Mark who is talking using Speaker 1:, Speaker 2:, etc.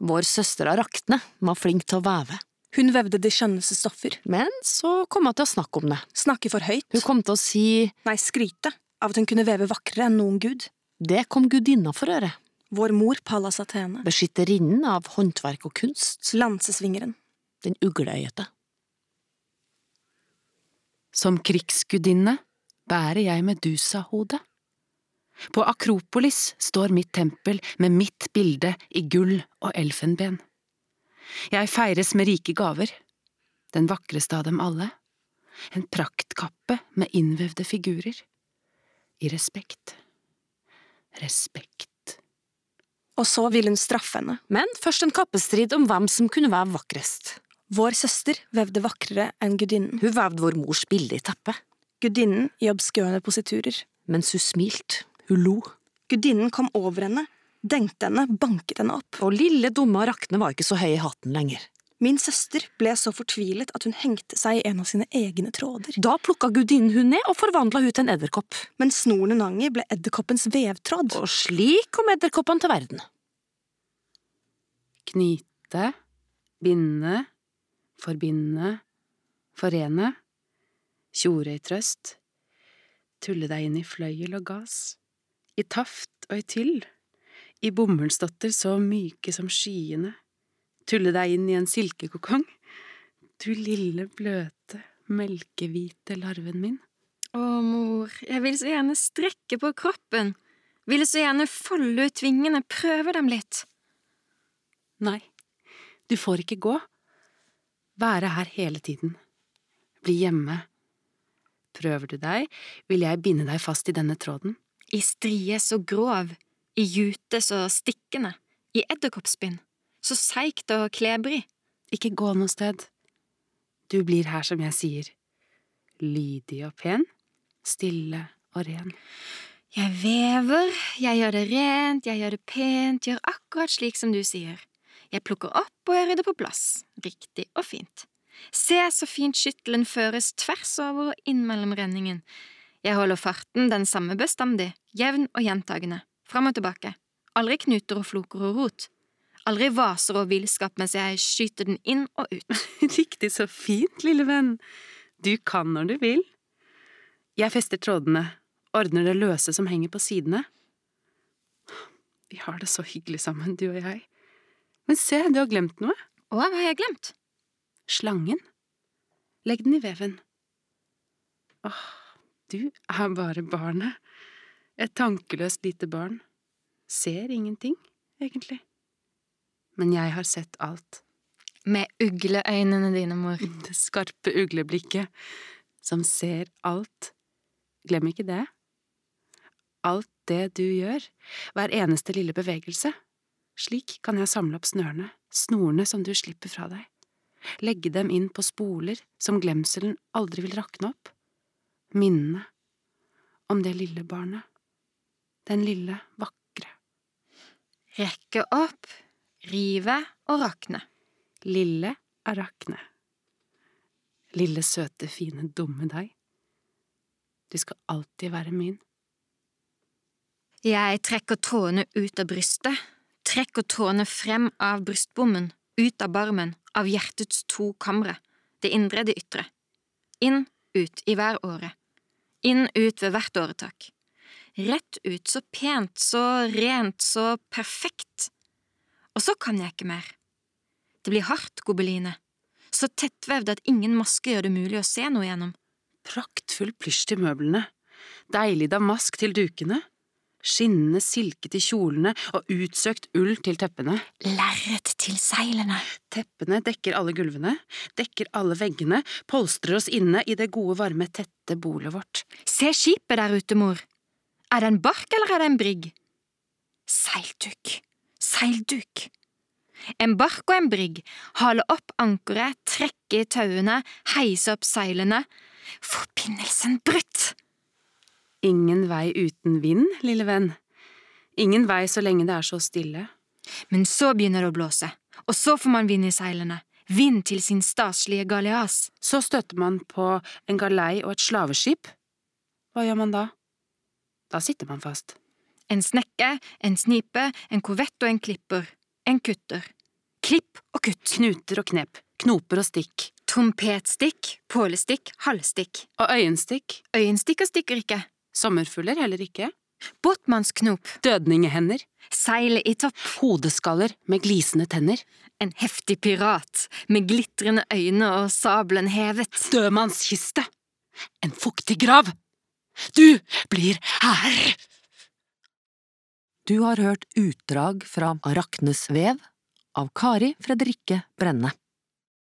Speaker 1: Vår søster av Rakne var flink til å veve,
Speaker 2: Hun vevde de skjønneste stoffer.
Speaker 1: men så kom hun til å snakke om det.
Speaker 2: Snakke for høyt.
Speaker 1: Hun kom til å si
Speaker 2: Nei, skryte av at hun kunne veve vakrere enn noen gud.
Speaker 1: det kom gudinna for øre,
Speaker 2: Vår mor, Pallas Athene.
Speaker 1: beskytterinnen av håndverk og kunst,
Speaker 2: Lansesvingeren.
Speaker 1: den ugleøyete.
Speaker 3: Som krigsgudinne bærer jeg Medusa-hodet. På Akropolis står mitt tempel med mitt bilde i gull og elfenben. Jeg feires med rike gaver. Den vakreste av dem alle. En praktkappe med innvevde figurer. I respekt. Respekt.
Speaker 2: Og så vil hun straffe henne.
Speaker 1: Men først en kappestrid om hvem som kunne veve vakrest.
Speaker 2: Vår søster vevde vakrere enn gudinnen.
Speaker 1: Hun vevde vår mors bilde i teppet,
Speaker 2: Gudinnen i obskøne positurer.
Speaker 1: mens hun smilte, hun lo.
Speaker 2: Gudinnen kom over henne, dengte henne, banket henne opp.
Speaker 1: Og lille, dumme Rakne var ikke så høy i hatten lenger.
Speaker 2: Min søster ble så fortvilet at hun hengte seg i en av sine egne tråder.
Speaker 1: Da plukka gudinnen hun ned og forvandla hun til en edderkopp.
Speaker 2: Men snoren hun hang i, ble edderkoppens vevtråd.
Speaker 1: Og slik kom edderkoppene til verden.
Speaker 3: Knyte. Binde. Forbinde. Forene. Tjore i trøst. Tulle deg inn i fløyel og gass. I taft og i tyll. I bomullsdotter så myke som skyene. Tulle deg inn i en silkekokong. Du lille, bløte, melkehvite larven min.
Speaker 4: Å, mor, jeg vil så gjerne strekke på kroppen. Ville så gjerne folde ut vingene, prøve dem litt.
Speaker 3: Nei, du får ikke gå. Være her hele tiden. Bli hjemme. Prøver du deg, vil jeg binde deg fast i denne tråden.
Speaker 4: I strie så grov, i jute så stikkende, i edderkoppspinn, så seigt og klebrig.
Speaker 3: Ikke gå noe sted. Du blir her som jeg sier. Lydig og pen. Stille og ren.
Speaker 4: Jeg vever, jeg gjør det rent, jeg gjør det pent, gjør akkurat slik som du sier. Jeg plukker opp og jeg rydder på plass, riktig og fint. Se så fint skyttelen føres tvers over og inn mellom renningen. Jeg holder farten den samme bestandig, jevn og gjentagende, fram og tilbake. Aldri knuter og floker og rot. Aldri vaser og villskap mens jeg skyter den inn og ut.
Speaker 3: Riktig så fint, lille venn. Du kan når du vil. Jeg fester trådene, ordner det løse som henger på sidene. Vi har det så hyggelig sammen, du og jeg. Men se, du har glemt noe.
Speaker 4: Å, hva har jeg glemt?
Speaker 3: Slangen. Legg den i veven. Åh, du er bare barnet. Et tankeløst lite barn. Ser ingenting, egentlig. Men jeg har sett alt.
Speaker 4: Med ugleøynene dine, mor.
Speaker 3: Det skarpe ugleblikket som ser alt. Glem ikke det. Alt det du gjør, hver eneste lille bevegelse. Slik kan jeg samle opp snørene, snorene som du slipper fra deg. Legge dem inn på spoler som glemselen aldri vil rakne opp. Minnene om det lille barnet. Den lille, vakre,
Speaker 4: Rekke opp, rive og rakne.
Speaker 3: lille Arachne. Lille, søte, fine, dumme deg. Du skal alltid være min.
Speaker 4: Jeg trekker trådene ut av brystet, trekker trådene frem av brystbommen, ut av barmen, av hjertets to kamre, det indre, det ytre. Inn, ut, i hver åre. Inn, ut ved hvert åretak. Rett ut, så pent, så rent, så perfekt. Og så kan jeg ikke mer. Det blir hardt, gobeline. Så tettvevd at ingen maske gjør det mulig å se noe gjennom.
Speaker 3: Praktfull plysj til møblene. Deilig damask til dukene. Skinnende silke til kjolene og utsøkt ull til teppene.
Speaker 4: Lerret til seilene.
Speaker 3: Teppene dekker alle gulvene, dekker alle veggene, polstrer oss inne i det gode, varme, tette bolet vårt.
Speaker 4: Se skipet der ute, mor. Er det en bark eller er det en brigg? Seilduk, seilduk. En bark og en brigg, hale opp ankeret, trekke i tauene, heise opp seilene. Forbindelsen brutt!
Speaker 3: Ingen vei uten vind, lille venn. Ingen vei så lenge det er så stille.
Speaker 4: Men så begynner det å blåse, og så får man vind i seilene. Vind til sin staselige galeas.
Speaker 3: Så støter man på en galei og et slaveskip. Hva gjør man da? Da sitter man fast.
Speaker 4: En snekke, en snipe, en korvett og en klipper. En kutter. Klipp og kutt.
Speaker 3: Knuter og knep. Knoper og stikk.
Speaker 4: Trompetstikk, pålestikk, halsstikk.
Speaker 3: Og øyenstikk.
Speaker 4: Øyenstikker stikker ikke.
Speaker 3: Sommerfugler heller ikke.
Speaker 4: Båtmannsknop.
Speaker 3: Dødningehender.
Speaker 4: Seilet i topp.
Speaker 3: Hodeskaller med glisende tenner.
Speaker 4: En heftig pirat med glitrende øyne og sabelen hevet.
Speaker 3: Dødmannskiste. En fuktig grav. Du blir her!
Speaker 1: Du har hørt utdrag fra Araknes vev av Kari Fredrikke Brenne.